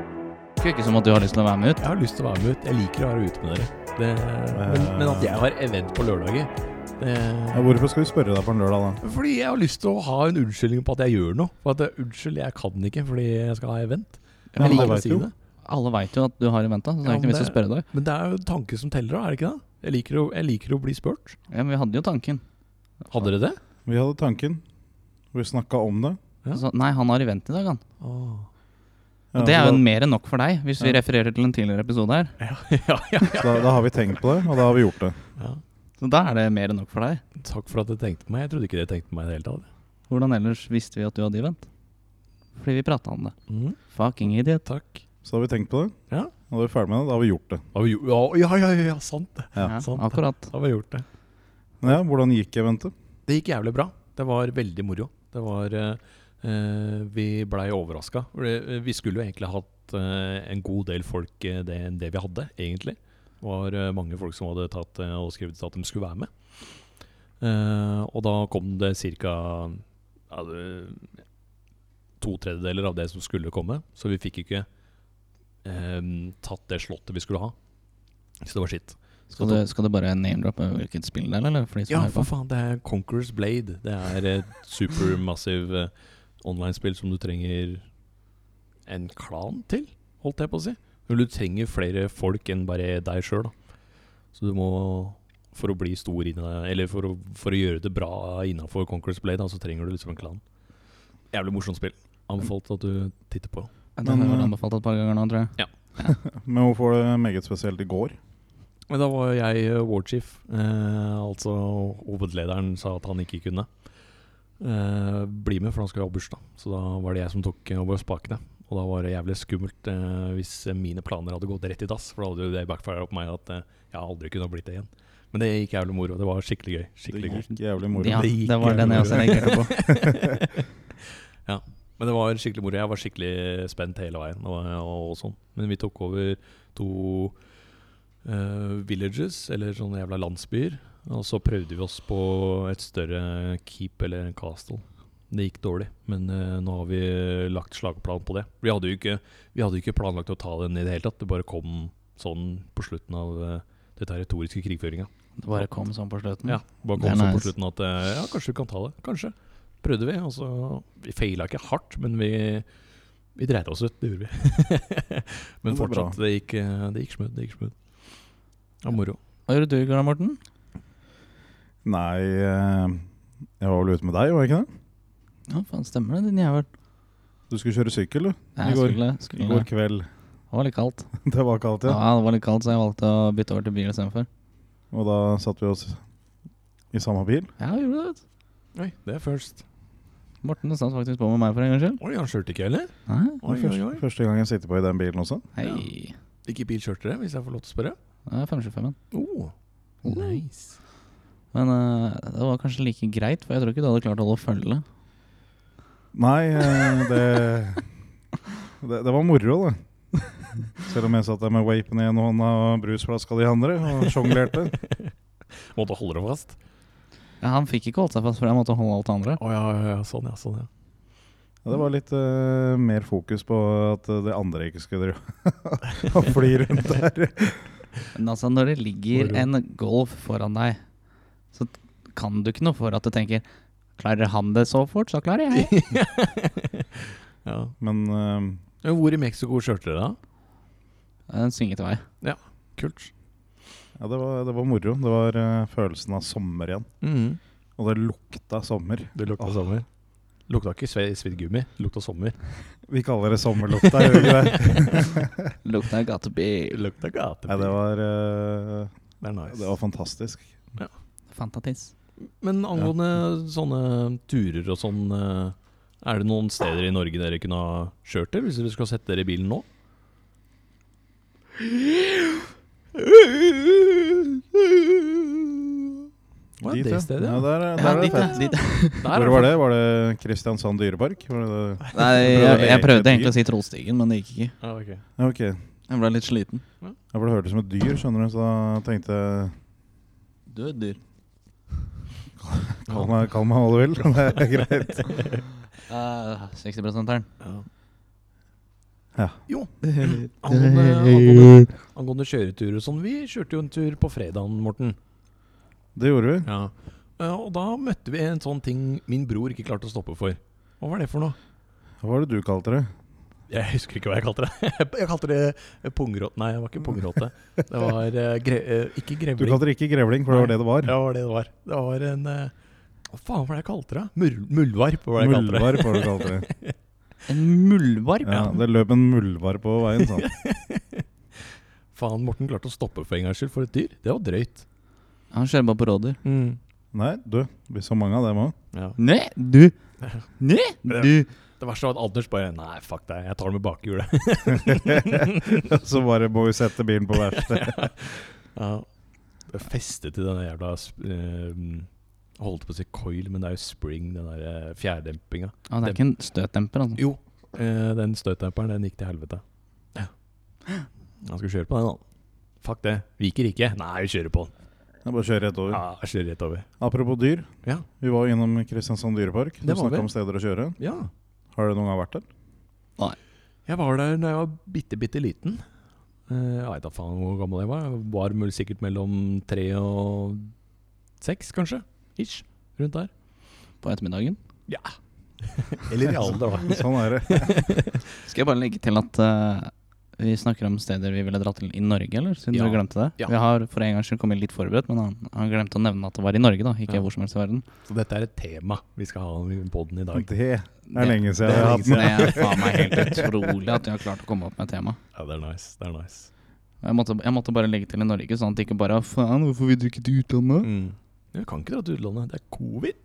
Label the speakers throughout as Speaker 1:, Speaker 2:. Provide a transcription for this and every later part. Speaker 1: virker jo ikke som at du har lyst til å være med ut.
Speaker 2: Jeg har lyst til å være med ut. Jeg liker å være ute med dere. Det, men, men at jeg har event på lørdager det,
Speaker 3: Ja, hvorfor skal vi spørre deg på en lørdag, da?
Speaker 2: Fordi jeg har lyst til å ha en unnskyldning på at jeg gjør noe. For at eh, Unnskyld, jeg kan ikke fordi jeg skal ha event.
Speaker 3: Ja, men
Speaker 2: Jeg liker
Speaker 3: det
Speaker 2: å
Speaker 3: vet
Speaker 2: si
Speaker 3: du jo.
Speaker 2: det.
Speaker 1: Alle veit jo at du har eventa, så det
Speaker 2: Ja,
Speaker 1: er ikke noe
Speaker 2: men
Speaker 1: vits å
Speaker 2: det-
Speaker 1: spørre deg.
Speaker 2: Men det er jo tanke som teller, da, er det ikke det? Jeg liker, å, jeg liker å bli spurt.
Speaker 1: Ja, men vi hadde jo tanken.
Speaker 2: Hadde dere det?
Speaker 3: Vi hadde tanken. Vi snakka om det.
Speaker 2: Ja.
Speaker 1: Så, nei, han har event i dag, han.
Speaker 2: Åh.
Speaker 3: Ja,
Speaker 1: Og det er
Speaker 3: så
Speaker 1: jo
Speaker 3: da-
Speaker 1: mer enn nok for deg, hvis vi refererer til en tidligere episode her.
Speaker 2: ja, ja,
Speaker 3: så da, da har vi tenkt på det, og da har vi gjort det.
Speaker 2: ja.
Speaker 1: Så da er det mer enn nok for deg.
Speaker 2: Takk for at dere tenkte på meg. Jeg trodde ikke dere tenkte på meg i det hele tatt.
Speaker 1: Hvordan ellers visste vi at du hadde event? Fordi vi prata om det.
Speaker 3: Mm.
Speaker 2: Mhm.
Speaker 1: Fucking idiot.
Speaker 2: Takk.
Speaker 3: Så da har vi tenkt på det,
Speaker 2: Ja.
Speaker 3: og da er vi ferdig med det, da har vi gjort det.
Speaker 2: Har vi gjo- Ja, ja, ja, ja, sant det.
Speaker 3: Ja,
Speaker 1: Ja,
Speaker 2: sant.
Speaker 1: akkurat.
Speaker 2: Har vi gjort det.
Speaker 3: Men Ja, Hvordan gikk eventet?
Speaker 2: Det gikk jævlig bra. Det var veldig moro. Det var eh, eh, Vi blei overraska. eh, Vi skulle jo egentlig hatt eh, en god del folk eh, det, enn det vi hadde, egentlig. Det var eh, mange folk som hadde tatt eh, og skrevet at de skulle være med. Eh, og da kom det ca. Ja, det- to tredjedeler av det som skulle komme. Så vi fikk ikke eh, tatt det slottet vi skulle ha. Så det var skitt.
Speaker 1: Skal du, skal du bare name-droppe hvilket spill det er, eller? For de som
Speaker 2: Ja,
Speaker 1: hører på?
Speaker 2: for faen, det er Conqueror's Blade. Det er et supermassiv eh, online-spill som du trenger en klan til, holdt jeg på å si. Men du trenger flere folk enn bare deg sjøl, da. Så du må For å bli stor inna, Eller for å, for å gjøre det bra innafor Conqueror's Blade, da, så trenger du liksom en klan. Jævlig morsomt spill. Anbefalt at du titter på.
Speaker 1: Det har jeg
Speaker 3: Men,
Speaker 1: vel
Speaker 3: eh,
Speaker 1: anbefalt et par ganger nå, tror jeg.
Speaker 3: Men hvorfor var det meget spesielt i går?
Speaker 2: Men da var jeg eh, warchief, eh, altså hovedlederen sa at han ikke kunne eh, bli med, for han skulle ha bursdag. Så da var det jeg som tok eh, over spakene. Og da var det jævlig skummelt eh, hvis mine planer hadde gått rett i dass, for da hadde jo det backfira på meg at eh, jeg aldri kunne ha blitt det igjen. Men det gikk jævlig moro. Det var skikkelig gøy.
Speaker 3: Det
Speaker 2: Skikkelig gøy.
Speaker 3: gikk jævlig moro.
Speaker 1: Ja,
Speaker 2: det gikk
Speaker 1: det var
Speaker 2: jævlig
Speaker 1: den jeg også
Speaker 2: bra.
Speaker 1: reagerte på.
Speaker 2: ja, men det var skikkelig moro. Jeg var skikkelig spent hele veien. Og, og, og sånn. Men vi tok over to eh, villages, eller sånne jævla landsbyer. Og så prøvde vi oss på et større keep eller en castle. Det gikk dårlig, men eh, nå har vi lagt slagplan på det. Vi hadde jo ikke, vi hadde jo ikke planlagt å ta den i det hele tatt. Det bare kom sånn på slutten av eh, det territoriske krigføringa.
Speaker 1: Det bare kom sånn på slutten.
Speaker 2: Ja, bare
Speaker 1: Det er
Speaker 2: kom sånn på
Speaker 1: nice.
Speaker 2: slutten at eh, ja, kanskje vi kan ta det. Kanskje. Prøvde vi, og så Vi feila ikke hardt, men vi, vi dreide oss ut. Det gjorde vi.
Speaker 3: Men det
Speaker 2: men
Speaker 3: er bra.
Speaker 2: fortsatt, det gikk, eh, det gikk smooth. Det gikk smooth. Ja, moro.
Speaker 1: Hva gjorde du, Gunnar Morten?
Speaker 3: Nei, eh, jeg var vel ute med deg, var jeg ikke det?
Speaker 1: Ja, faen, stemmer det, din jævel.
Speaker 3: Du skulle kjøre sykkel, du.
Speaker 1: Nei,
Speaker 3: I går-
Speaker 1: skulle,
Speaker 3: I
Speaker 1: skulle.
Speaker 3: går kveld.
Speaker 1: Det var litt kaldt.
Speaker 3: Det var kaldt,
Speaker 1: Ja.
Speaker 3: ja.
Speaker 1: det var litt kaldt, så jeg valgte å bytte over til bil istedenfor.
Speaker 3: Og da satt vi oss i samme bil.
Speaker 1: Ja, vi gjorde det. vet du.
Speaker 2: Oi, det er først.
Speaker 1: Morten satt faktisk på med meg for en gangs skyld.
Speaker 2: Oi, han kjørte ikke, eller?
Speaker 1: Nei,
Speaker 2: Oi, oi, oi.
Speaker 3: Første gang jeg sitter på i den bilen også.
Speaker 1: hei.
Speaker 2: Hvilken bil kjørte dere, hvis jeg får lov til å spørre?
Speaker 1: Det er 525-en.
Speaker 2: Oh, nice.
Speaker 1: Men eh, det var kanskje like greit, for jeg tror ikke du hadde klart å holde følge.
Speaker 3: Nei, eh, det, det Det var moro, det. Selv om jeg satt der med vapen i ene hånda og brusflaska i de andre og sjonglerte.
Speaker 2: Måtte holde deg fast?
Speaker 1: Ja, han fikk ikke holdt seg fast, for jeg måtte holde alt det andre.
Speaker 2: Å ja, ja, ja, sånn ja. sånn ja
Speaker 3: Ja, Det var litt eh, mer fokus på at det andre ikke skulle drive og fly rundt der.
Speaker 1: Men altså, når det ligger
Speaker 2: Moro.
Speaker 1: en Golf foran deg, så kan du ikke noe for at du tenker Klarer han det så fort, så klarer jeg.
Speaker 2: ja.
Speaker 3: Men eh,
Speaker 2: Men Hvor i Mexico kjørte dere, da?
Speaker 1: En svingete vei.
Speaker 2: Kult.
Speaker 3: ja, det var, det var moro. Det var eh, følelsen av sommer igjen.
Speaker 2: Mm.
Speaker 3: Og det lukta sommer.
Speaker 2: Det lukta sommer. Lukta ikke sve- svidd gummi, lukta sommer.
Speaker 3: Vi kaller det sommerlukta, gjør vi ikke det?
Speaker 1: Lukta gatebil.
Speaker 2: Lukta gatebil.
Speaker 3: Ja, det var, eh,
Speaker 2: det er nice.
Speaker 3: det var fantastisk.
Speaker 1: Fantatiss.
Speaker 2: Men angående sånne turer og sånn eh, Er det noen steder i Norge dere kunne ha kjørt til hvis dere skulle ha sett dere i bilen nå? Hva er
Speaker 3: Dit,
Speaker 2: det
Speaker 3: ja.
Speaker 2: stedet?
Speaker 3: Ja, der,
Speaker 1: Ja,
Speaker 3: er- der er det
Speaker 1: dit, ja.
Speaker 3: fett.
Speaker 1: Dit,
Speaker 2: Der
Speaker 3: Hvor
Speaker 2: er
Speaker 3: var
Speaker 2: det.
Speaker 3: det? Var det Kristiansand dyrepark? Var det det?
Speaker 1: Nei, jeg, jeg prøvde egentlig å si Trollstigen, men det gikk ikke.
Speaker 2: Ja, ok.
Speaker 3: Ja, ok. Ja,
Speaker 1: Jeg ble litt sliten.
Speaker 3: for det hørtes som et dyr, skjønner du, så da tenkte jeg
Speaker 1: Du er dyr.
Speaker 3: Kall meg, kall meg hva du vil, det er greit.
Speaker 1: Eh, 60-prosenteren.
Speaker 2: Ja.
Speaker 3: Ja.
Speaker 2: Jo. eh, Angående, angående, angående kjøreturer og sånn. Vi kjørte jo en tur på fredagen, Morten.
Speaker 3: Det gjorde vi.
Speaker 2: Ja. Eh, Og da møtte vi en sånn ting min bror ikke klarte å stoppe for. Hva var det for noe?
Speaker 3: Hva var det du kalte det?
Speaker 2: Jeg husker ikke hva jeg kalte det. Jeg kalte det pungråte. Nei, det var ikke pungråte. Det var eh, gre eh, ikke
Speaker 3: Du
Speaker 2: grevling.
Speaker 3: kalte det ikke grevling, for det var det det var.
Speaker 2: Ja, det var det det var. Det var en eh, Hva faen var det jeg kalte det? Mul muldvarp var det jeg kalte det.
Speaker 3: Muldvarp var det du kalte det.
Speaker 1: En muldvarp?
Speaker 3: Ja, det løp en muldvarp på veien. sant?
Speaker 2: Faen, Morten klarte å stoppe for en gangs skyld for et dyr. Det var drøyt.
Speaker 1: Han kjører bare på rådyr.
Speaker 2: Mm.
Speaker 3: Nei, du, det blir så mange av dem òg.
Speaker 2: Ja.
Speaker 1: Nei, du! Nei, du!
Speaker 2: Det verste var at Anders bare Nei, fuck deg, jeg tar den med bakhjulet.
Speaker 3: Så bare må vi sette bilen på verksted.
Speaker 2: ja. Det er festet til den jævla sp- eh, Holdt på å si coil, men det er jo spring, den der eh, fjærdempinga.
Speaker 1: Ah, det er ikke en støtdemper, altså.
Speaker 2: Jo. Eh, den støtdemperen, den gikk til helvete. Ja. Han skulle kjøre på den, da. Fuck det. Viker ikke. Nei, vi kjører på den.
Speaker 3: Jeg bare kjører rett over.
Speaker 2: Ja, jeg kjører rett over.
Speaker 3: Apropos dyr.
Speaker 2: Ja.
Speaker 3: Vi var jo innom Kristiansand dyrepark. Du
Speaker 2: Det var vi.
Speaker 3: snakka om steder å kjøre.
Speaker 2: ja.
Speaker 3: Har du noen gang vært der?
Speaker 2: Jeg var der da jeg var bitte, bitte liten. Eh, Jeg veit da faen hvor gammel jeg var. Jeg var mul- sikkert mellom tre og seks, kanskje. Ish. Rundt der.
Speaker 1: På ettermiddagen.
Speaker 2: Eller i alder, da.
Speaker 3: Sånn er det.
Speaker 1: Skal jeg bare legge til at eh, vi snakker om steder vi ville dratt til i Norge, eller? Siden
Speaker 2: Ja.
Speaker 1: du glemte det.
Speaker 2: Ja.
Speaker 1: Vi har for en gangs skyld kommet litt forberedt, men han, han glemte å nevne at det var i Norge, da. Ikke
Speaker 2: Ja.
Speaker 1: hvor som helst i verden.
Speaker 2: Så dette er et tema vi skal ha i poden i dag.
Speaker 3: Det er lenge
Speaker 1: Det
Speaker 3: siden jeg har hatt den.
Speaker 1: er faen meg helt utrolig at jeg har klart å komme opp med et tema.
Speaker 2: Ja, det er nice. Det er nice.
Speaker 1: Jeg måtte, jeg måtte bare legge til i Norge, sånn at det ikke bare Faen, hvorfor vil du ikke til utlandet?
Speaker 2: Mm. Du kan ikke dra til utlandet. Det er covid.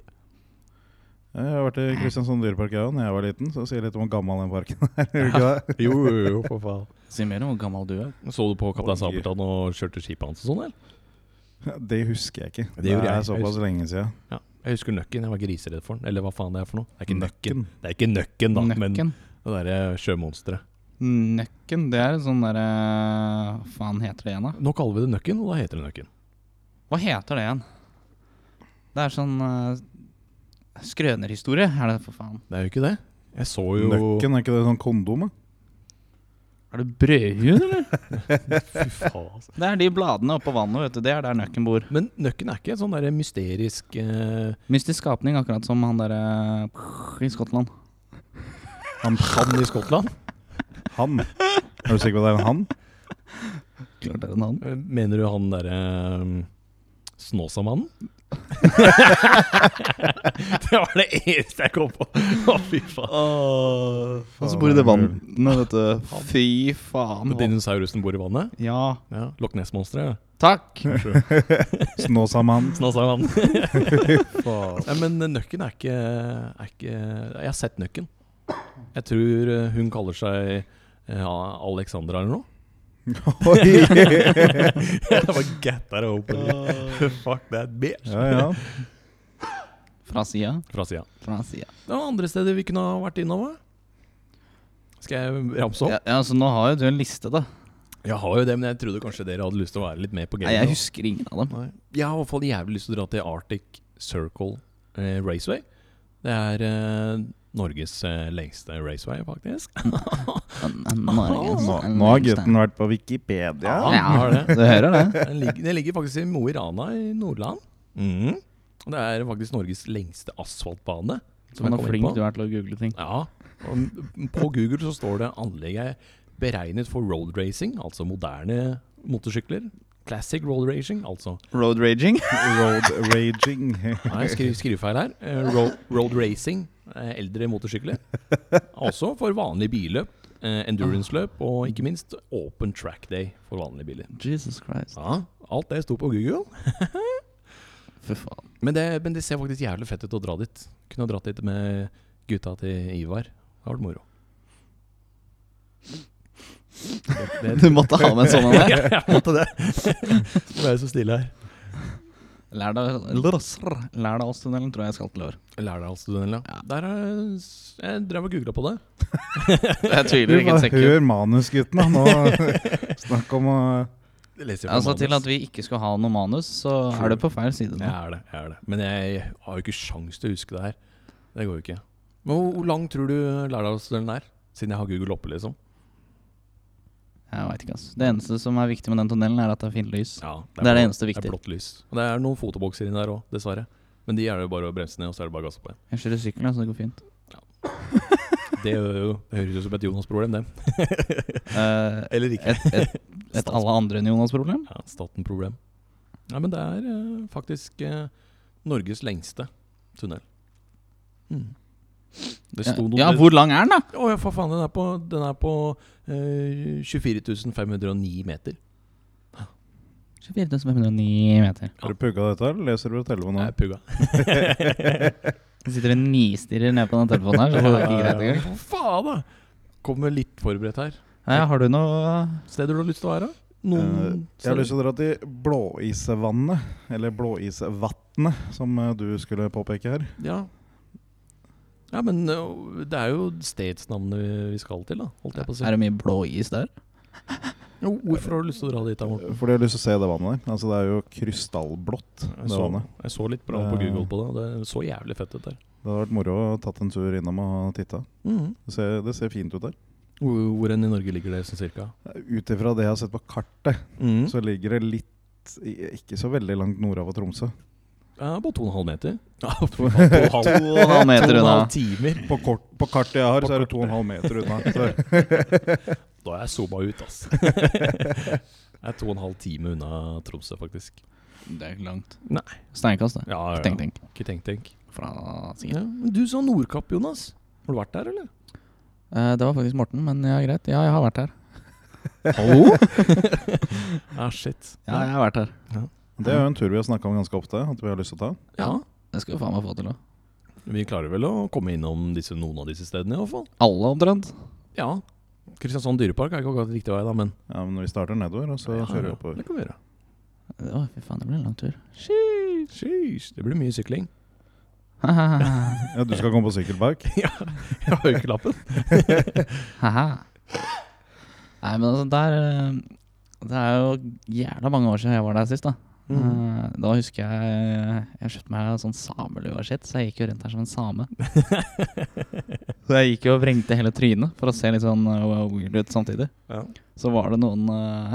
Speaker 3: Jeg har vært i Kristiansand dyrepark jeg òg da jeg var liten, så det sier litt om hvor gammel den parken er. Gjør det ikke det?
Speaker 2: Jo, jo, jo, for faen.
Speaker 1: Si mer om hvor gammel du er.
Speaker 2: Så du på Kaptein
Speaker 3: Oi.
Speaker 2: Sabeltann og kjørte skipet hans og sånn, eller?
Speaker 3: Det husker jeg ikke.
Speaker 2: Det gjorde jeg.
Speaker 3: er såpass lenge siden.
Speaker 2: Ja. Jeg husker nøkken. Jeg var griseredd for den. Eller hva faen det er for noe. Det er ikke nøkken.
Speaker 3: Nøkken.
Speaker 2: Det er ikke nøkken, da, men
Speaker 1: Nøkken.
Speaker 2: det derre sjømonsteret.
Speaker 1: Nøkken, det er en sånn derre Hva faen heter det igjen, da?
Speaker 2: Nå kaller vi det nøkken, og da heter det nøkken.
Speaker 1: Hva heter det igjen? Det er sånn eh, skrønerhistorie, er det for faen.
Speaker 2: Det er jo ikke det. Jeg så jo
Speaker 3: Nøkken, er ikke det sånn kondom? da?
Speaker 1: Er det brødhue, eller?
Speaker 2: Fy faen. altså.
Speaker 1: det er de bladene oppå vannet, vet du. Det er der nøkken bor.
Speaker 2: Men nøkken er ikke en sånn der mysterisk eh,
Speaker 1: Mystisk skapning, akkurat som han derre eh, i Skottland.
Speaker 2: han, i Skottland?
Speaker 3: Han. Er du sikker på at det er en han?
Speaker 1: Klart er det en annen.
Speaker 2: Eh, Mener du han derre eh, Snåsamannen? det var det eneste jeg kom på! Å, fy faen.
Speaker 1: Han som bor i det vannet, vet du. Fy faen.
Speaker 2: Men dinosaurusen bor i vannet?
Speaker 1: Ja.
Speaker 2: Ja. Loch Ness-monsteret?
Speaker 1: Takk!
Speaker 3: Snåsamannen.
Speaker 2: Snåsamannen. Nei, men nøkken er ikke, er ikke Jeg har sett nøkken. Jeg tror eh, hun kaller seg eh, Alexandra eller noe.
Speaker 3: Oi!
Speaker 2: Det var get that open. Fuck that bitch.
Speaker 3: Ja, ja.
Speaker 1: Fra sida.
Speaker 2: Fra sida.
Speaker 1: Fra sida.
Speaker 2: Det var andre steder vi kunne ha vært innom. da. Skal jeg ramse opp?
Speaker 1: Ja, ja, så nå har jo du en liste, da.
Speaker 2: Jeg har jo det, men jeg trodde kanskje dere hadde lyst til å være litt med på
Speaker 1: Nei, jeg
Speaker 2: gamet.
Speaker 1: husker ingen av dem.
Speaker 2: da. Nei. Jeg har i hvert fall jævlig lyst til å dra til Arctic Circle eh, Raceway. Det er eh, Norges eh, lengste raceway, faktisk.
Speaker 1: Men- men Norges-
Speaker 3: Nå, nå har gutten vært på Wikipedia.
Speaker 2: Ja, jeg har det.
Speaker 1: Du hører det?
Speaker 2: Den ligger, den ligger faktisk i Mo i Rana i Nordland. Mhm. Og Det er faktisk Norges lengste asfaltbane. som
Speaker 1: Men
Speaker 2: jeg
Speaker 1: hvor
Speaker 2: kom inn på.
Speaker 1: flink du er til å google ting.
Speaker 2: Ja, og på Google så står det anlegget er beregnet for road racing, altså moderne motorsykler. Classic road racing, altså.
Speaker 1: Road raging?
Speaker 3: Road raging.
Speaker 2: Nei, skriv, skrivefeil her. Eh, Road, road racing, eh, eldre motorsykler. Altså for vanlige billøp, eh, endurance-løp og ikke minst open track day for vanlige biler.
Speaker 1: Jesus Christ.
Speaker 2: Ja, alt det sto på Google.
Speaker 1: Fy faen.
Speaker 2: Men det, men det ser faktisk jævlig fett ut å dra dit. Kunne ha dratt dit med gutta til Ivar. Det hadde vært moro. Det,
Speaker 1: Du måtte ha med en sånn en der?
Speaker 2: Ja, jeg måtte det. Nå er jeg så stille her.
Speaker 1: Lær deg lrrr, Lær deg Åstunnelen, tror jeg jeg skal til i år.
Speaker 2: Lærdalstunnelen, ja. Der er, jeg drev og googla på det.
Speaker 1: Jeg
Speaker 3: Du,
Speaker 1: tviler ikke
Speaker 3: bare
Speaker 1: et sekund.
Speaker 3: hør manusgutten, da. Nå snakk om å
Speaker 2: Det leser jeg
Speaker 1: Altså Til at vi ikke skulle ha noe manus, så er du på feil side
Speaker 2: Jeg
Speaker 1: nå.
Speaker 2: er det. jeg er det Men jeg har jo ikke sjans til å huske det her. Det går jo ikke. Men hvor, hvor lang tror du Lærdalstunnelen er? Siden jeg har Google oppe, liksom.
Speaker 1: Jeg vet ikke, ass. Det eneste som er viktig med den tunnelen, er at det er fint lys.
Speaker 2: Ja,
Speaker 1: Det er det
Speaker 2: blå-
Speaker 1: eneste
Speaker 2: Det
Speaker 1: viktige.
Speaker 2: er blått lys. Og det er noen fotobokser inni der òg, dessverre. Men de er det jo bare å bremse ned, og så er det bare å gasse på igjen.
Speaker 1: Jeg kjører sykkel, da, så det går fint.
Speaker 2: Det gjør jo, høres jo ut som et Jonas-problem, det.
Speaker 1: Eh,
Speaker 2: Eller ikke.
Speaker 1: et, et, et alle andre enn Jonas' problem?
Speaker 2: Ja, Staten-problem. Nei, men det er eh, faktisk eh, Norges lengste tunnel. Mm. Det
Speaker 1: Ja,
Speaker 2: sto noe
Speaker 1: ja, hvor lang er den, da?
Speaker 2: Å ja, for faen, den er på, den er på eh, 24 509 meter.
Speaker 1: 24.509 meter.
Speaker 3: Har du pugga dette, eller leser du på
Speaker 2: Nei,
Speaker 3: telefonen?
Speaker 2: pugga.
Speaker 1: Jeg sitter og nistirrer ned på den telefonen her, så det er ikke greit engang.
Speaker 2: Hva faen, da! Kommer litt forberedt her.
Speaker 1: Ja, har du noe
Speaker 2: Steder du har lyst til å være?
Speaker 3: Eh,
Speaker 2: Noen
Speaker 3: Jeg har lyst
Speaker 2: steder?
Speaker 3: til å dra til Blåisvannet, eller Blåisvatnet, som eh, du skulle påpeke her.
Speaker 2: Ja. ja, men ø, det er jo stedsnavnet vi skal til, da. Holdt jeg på å si.
Speaker 1: Er det mye blå is der?
Speaker 2: Jo, hvorfor har du lyst til å dra dit, da, Morten?
Speaker 3: Fordi jeg har lyst til å se det vannet der. Altså, det er jo krystallblått,
Speaker 2: Jeg
Speaker 3: det
Speaker 2: så,
Speaker 3: vannet.
Speaker 2: jeg så litt bra på
Speaker 3: Det-
Speaker 2: Google på det. og Det så jævlig fett ut der.
Speaker 3: Det hadde vært moro å tatt en tur innom og titta.
Speaker 2: Mm.
Speaker 3: Det ser, det ser fint ut der.
Speaker 2: Hvor, hvor enn i Norge ligger det, sånn cirka?
Speaker 3: Ut ifra det jeg har sett på kartet,
Speaker 2: Mm.
Speaker 3: så ligger det litt i- Ikke så veldig langt nord av Tromsø.
Speaker 2: Ja, bare to og en halv meter. Ja, to og en halv, to
Speaker 1: og en halv meter
Speaker 2: og en
Speaker 1: unna.
Speaker 2: halv timer.
Speaker 3: På, kort, på kartet jeg har,
Speaker 2: På
Speaker 3: så er det 2,5 meter unna. Så,
Speaker 2: Da er jeg zooma ut, ass. jeg er to og en halv time unna Tromsø, faktisk.
Speaker 1: Det er ikke langt.
Speaker 2: Nei.
Speaker 1: Steinkast, det.
Speaker 2: Ja, ja, ja.
Speaker 1: Tenk, tenk.
Speaker 2: Ikke tenk, tenk.
Speaker 1: Fra Sigurd.
Speaker 2: Ja, men du sa Nordkapp, Jonas. Har du vært der, eller?
Speaker 1: Eh, det var faktisk Morten, men ja, greit. Ja, jeg har vært her.
Speaker 2: Hallo? ah, shit.
Speaker 1: Ja, jeg har vært her.
Speaker 3: det er jo en tur vi har snakka om ganske ofte, at vi har lyst til å ta.
Speaker 2: ja.
Speaker 1: Det skal vi faen meg få til òg.
Speaker 2: Vi klarer vel å komme innom disse, noen av disse stedene, i hvert fall.
Speaker 1: Alle omtrent.
Speaker 2: Ja. Kristiansand dyrepark er ikke akkurat riktig vei, da, men
Speaker 3: Ja, men Vi starter nedover, og så
Speaker 2: Ja,
Speaker 3: kjører vi
Speaker 2: ja,
Speaker 3: oppover.
Speaker 2: Det kan vi gjøre.
Speaker 1: Det var, fy faen, det ble en lang tur.
Speaker 2: Sheesh, Det blir mye sykling.
Speaker 1: Haha.
Speaker 3: Ja, Du skal komme på sykkelbike?
Speaker 2: ja, jeg har jo ikke lappen.
Speaker 1: Nei, men altså, der eh, Det er jo jævla mange år siden jeg var der sist, da.
Speaker 3: Mm.
Speaker 1: Eh, Da husker jeg Jeg kjøpte meg sånn samelue og shit, så jeg gikk jo rundt her som en same. så jeg gikk jo og vrengte hele trynet for å se litt sånn eh, weird ut samtidig.
Speaker 2: Ja.
Speaker 1: Så var det noen eh,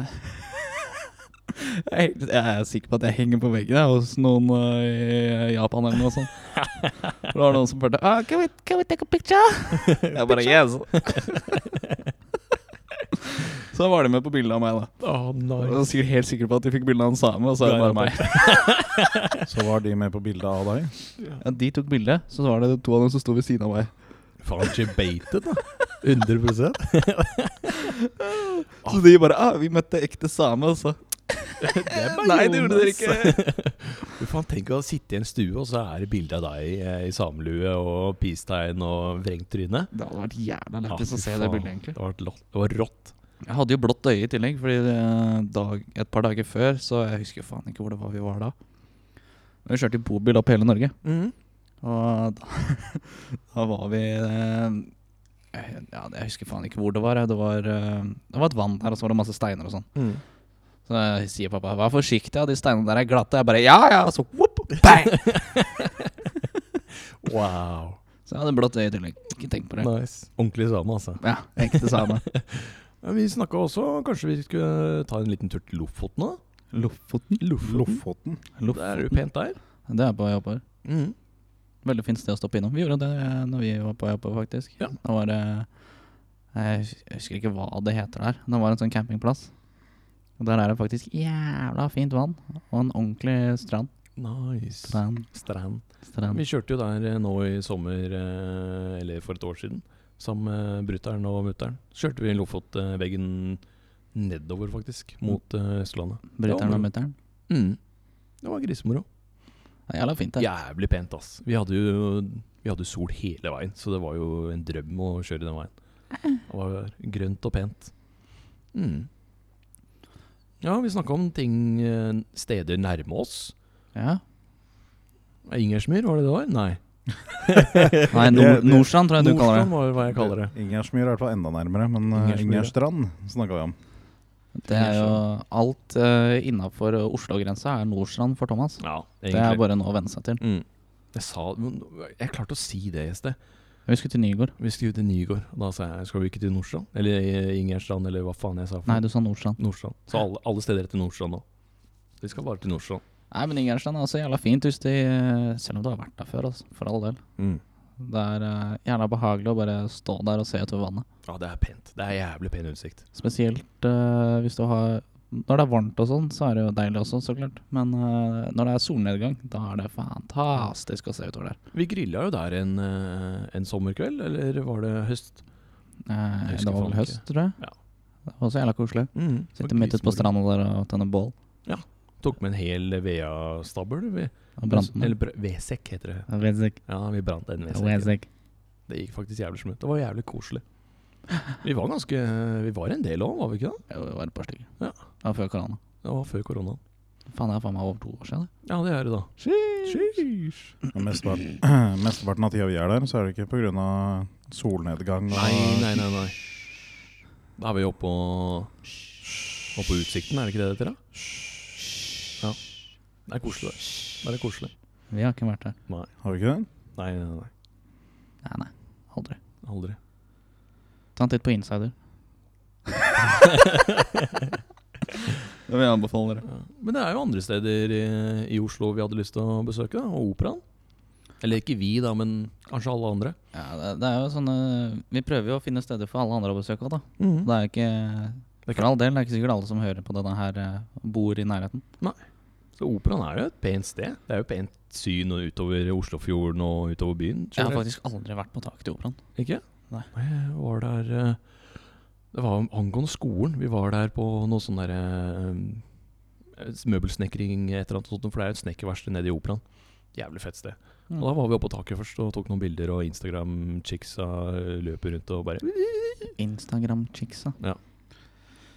Speaker 1: jeg, er- jeg er sikker på at jeg henger på veggen jeg, hos noen eh, i Japan eller noe sånt. For det var noen som spurte ah, can, we, can we take a picture? Jeg bare yes. så var de med på bildet av meg, da.
Speaker 2: Å,
Speaker 1: Jeg
Speaker 2: nice.
Speaker 1: var sikkert helt sikker på at de fikk bilde av en same, og så er det bare meg.
Speaker 3: Så var de med på bildet av deg.
Speaker 1: Ja, De tok bilde, så var det to av dem som sto ved siden av meg.
Speaker 2: Faen, ikke beitet, da. 100
Speaker 1: Så de bare ah, 'Vi møtte ekte same', altså. Nei, det gjorde dere ikke.
Speaker 2: Du faen, Tenk å sitte i en stue, og så er det bilde av deg eh, i samelue og peace-tegn og vrengt tryne.
Speaker 1: Det hadde vært jævla
Speaker 2: Ja,
Speaker 1: lættis
Speaker 2: fy
Speaker 1: å se det
Speaker 2: faen.
Speaker 1: bildet, egentlig.
Speaker 2: Det var, et lott- det var rått.
Speaker 1: Jeg hadde jo blått øye i tillegg, fordi eh, dag, et par dager før, så jeg husker jo faen ikke hvor det var vi var da. Men Vi kjørte i bobil opp hele Norge, og da, da var vi eh, ja, Jeg husker faen ikke hvor det var. jeg. Det var, eh, det var et vann her, og så var det masse steiner og sånn. Så jeg sier pappa 'vær forsiktig, ja, de steinene der er glatte'. Jeg bare 'ja ja', og så whoop, bang!
Speaker 2: Wow.
Speaker 1: Så jeg hadde blått øye i tillegg. Ikke tenk på det.
Speaker 2: Nice. Ordentlig same, altså.
Speaker 1: Ja, ekte same.
Speaker 2: Ja, Vi snakka også Kanskje vi skulle ta en liten tur til Lofoten òg?
Speaker 1: Lofoten? Mm.
Speaker 3: Lofoten.
Speaker 2: Det er jo pent der.
Speaker 1: Det er på Japan. Veldig fint sted å stoppe innom. Vi gjorde det eh, når vi var på Japan, faktisk.
Speaker 2: Ja.
Speaker 1: Da var det Jeg hus- jeg husker ikke hva det heter der. Det var en sånn campingplass. Og Der er det faktisk jævla fint vann og en ordentlig strand.
Speaker 2: Nice.
Speaker 1: Strand,
Speaker 2: Strand.
Speaker 1: strand.
Speaker 2: Vi kjørte jo der eh, nå i sommer, eh, eller for et år siden, sammen med brutter'n og mutter'n. Så kjørte vi Lofotveggen nedover,
Speaker 1: Mm.
Speaker 2: faktisk, mot eh, Østlandet.
Speaker 1: Bryteren
Speaker 2: Ja,
Speaker 1: og
Speaker 2: men-
Speaker 1: mutter'n. Mm.
Speaker 2: Det var grisemoro.
Speaker 1: Det er Jævla fint der.
Speaker 2: Jævlig pent, ass. Vi hadde jo vi hadde jo sol hele veien, så det var jo en drøm å kjøre den veien. Det var grønt og pent. Mm. Ja, vi snakka om ting eh, steder nærme oss.
Speaker 1: Ja.
Speaker 2: Eh, Ingersmyr, var det det var? Nei.
Speaker 1: Nei,
Speaker 3: Det-
Speaker 1: Nord
Speaker 3: det-
Speaker 1: Nordstrand tror jeg du kaller det.
Speaker 2: Nordstrand var hva jeg kaller det.
Speaker 3: Eh, Ingersmyr er i hvert fall enda nærmere, men eh,
Speaker 2: Ingersmyr, ja.
Speaker 3: Ingerstrand snakka vi om.
Speaker 1: Det er jo alt uh, innafor Oslo-grensa er Nordstrand for Thomas.
Speaker 2: Ja,
Speaker 1: Det er
Speaker 2: egentlig.
Speaker 1: bare noe å venne seg til.
Speaker 2: Mm. Jeg sa men Jeg klarte å si det i sted.
Speaker 1: Vi skulle til Nygård.
Speaker 2: Vi skulle ut til Nygård. og Da sa jeg skal vi ikke til Nordstrand? Eller eh, Ingerstrand, eller hva faen jeg sa. for
Speaker 1: Nei,
Speaker 2: noe.
Speaker 1: du sa Nordstrand.
Speaker 2: Nordstrand. Så alle, alle steder er til Nordstrand nå. Vi skal bare til Nordstrand.
Speaker 1: Nei, men Ingerstrand er også jævla fint hus, de, eh, selv om du har vært der før, altså. For all del. Det er eh, jævla behagelig å bare stå der og se utover vannet.
Speaker 2: Ja, det er pent. Det er jævlig pen utsikt.
Speaker 1: Spesielt eh, hvis du har Når det er varmt og sånn, så er det jo deilig også, så klart. Men eh, når det er solnedgang, da er det fantastisk å se utover der.
Speaker 2: Vi grilla jo der en, eh, en sommerkveld, eller var det høst?
Speaker 1: Eh,
Speaker 2: Jeg husker
Speaker 1: det var
Speaker 2: faen
Speaker 1: vel
Speaker 2: ikke.
Speaker 1: høst, tror jeg.
Speaker 2: Ja.
Speaker 1: Det var også jævla koselig.
Speaker 2: Mm.
Speaker 1: Sitte midt ute på stranda der og tenne bål.
Speaker 2: Tok med en hel vedstabel. vi.
Speaker 1: Og brant den.
Speaker 2: Eller br- vedsekk, heter det.
Speaker 1: Wezik.
Speaker 2: Ja, vi brant den vedsekken.
Speaker 1: Wezik.
Speaker 2: Det gikk faktisk jævlig smooth. Det var jævlig koselig. Vi var ganske Vi var en del òg, var vi ikke det?
Speaker 1: Jo, det var et par stykker.
Speaker 2: Ja.
Speaker 1: Det var før korona.
Speaker 2: Det var før koronaen.
Speaker 1: Faen, det er faen meg over to år siden. det.
Speaker 2: Ja, det er det, da. Sheesh.
Speaker 3: Men Mesteparten mesteparten av tida vi er der, så er det ikke pga. solnedgang. Og
Speaker 2: Nei, nei, nei, nei. Da er vi oppe og Oppe på utsikten, er det ikke det det heter? da? Ja. Det er koselig. det. Det er litt koselig.
Speaker 1: Vi har ikke vært der.
Speaker 3: Har vi ikke det?
Speaker 2: Nei, nei, nei.
Speaker 1: Nei, nei. Aldri.
Speaker 2: Aldri.
Speaker 1: Ta en titt på Insider. det vil jeg anbefale dere.
Speaker 2: Ja. Men det er jo andre steder i, i Oslo vi hadde lyst til å besøke, da. Og operaen. Eller ikke vi, da, men kanskje alle andre.
Speaker 1: Ja, det, det er jo sånne Vi prøver jo å finne steder for alle andre å besøke òg, da.
Speaker 2: Mhm.
Speaker 1: Mm. Det er jo ikke For all del, det er ikke sikkert alle som hører på denne her, eh, bor i nærheten.
Speaker 2: Så operaen er jo et pent sted. Det er jo pent syn og utover Oslofjorden og utover byen.
Speaker 1: Jeg har
Speaker 2: generelt.
Speaker 1: faktisk aldri vært på taket til operaen.
Speaker 2: Ikke?
Speaker 1: Nei.
Speaker 2: Jeg var der eh, Det var om- angående skolen. Vi var der på noe sånn derre Møbelsnekring, et eller annet sånt. For det er jo et snekkerverksted nede i operaen. Jævlig fett sted.
Speaker 1: Mm.
Speaker 2: Og da var vi oppe på taket først og tok noen bilder, og Instagram-chicksa løper eh, rundt og bare
Speaker 1: Instagram-chicksa.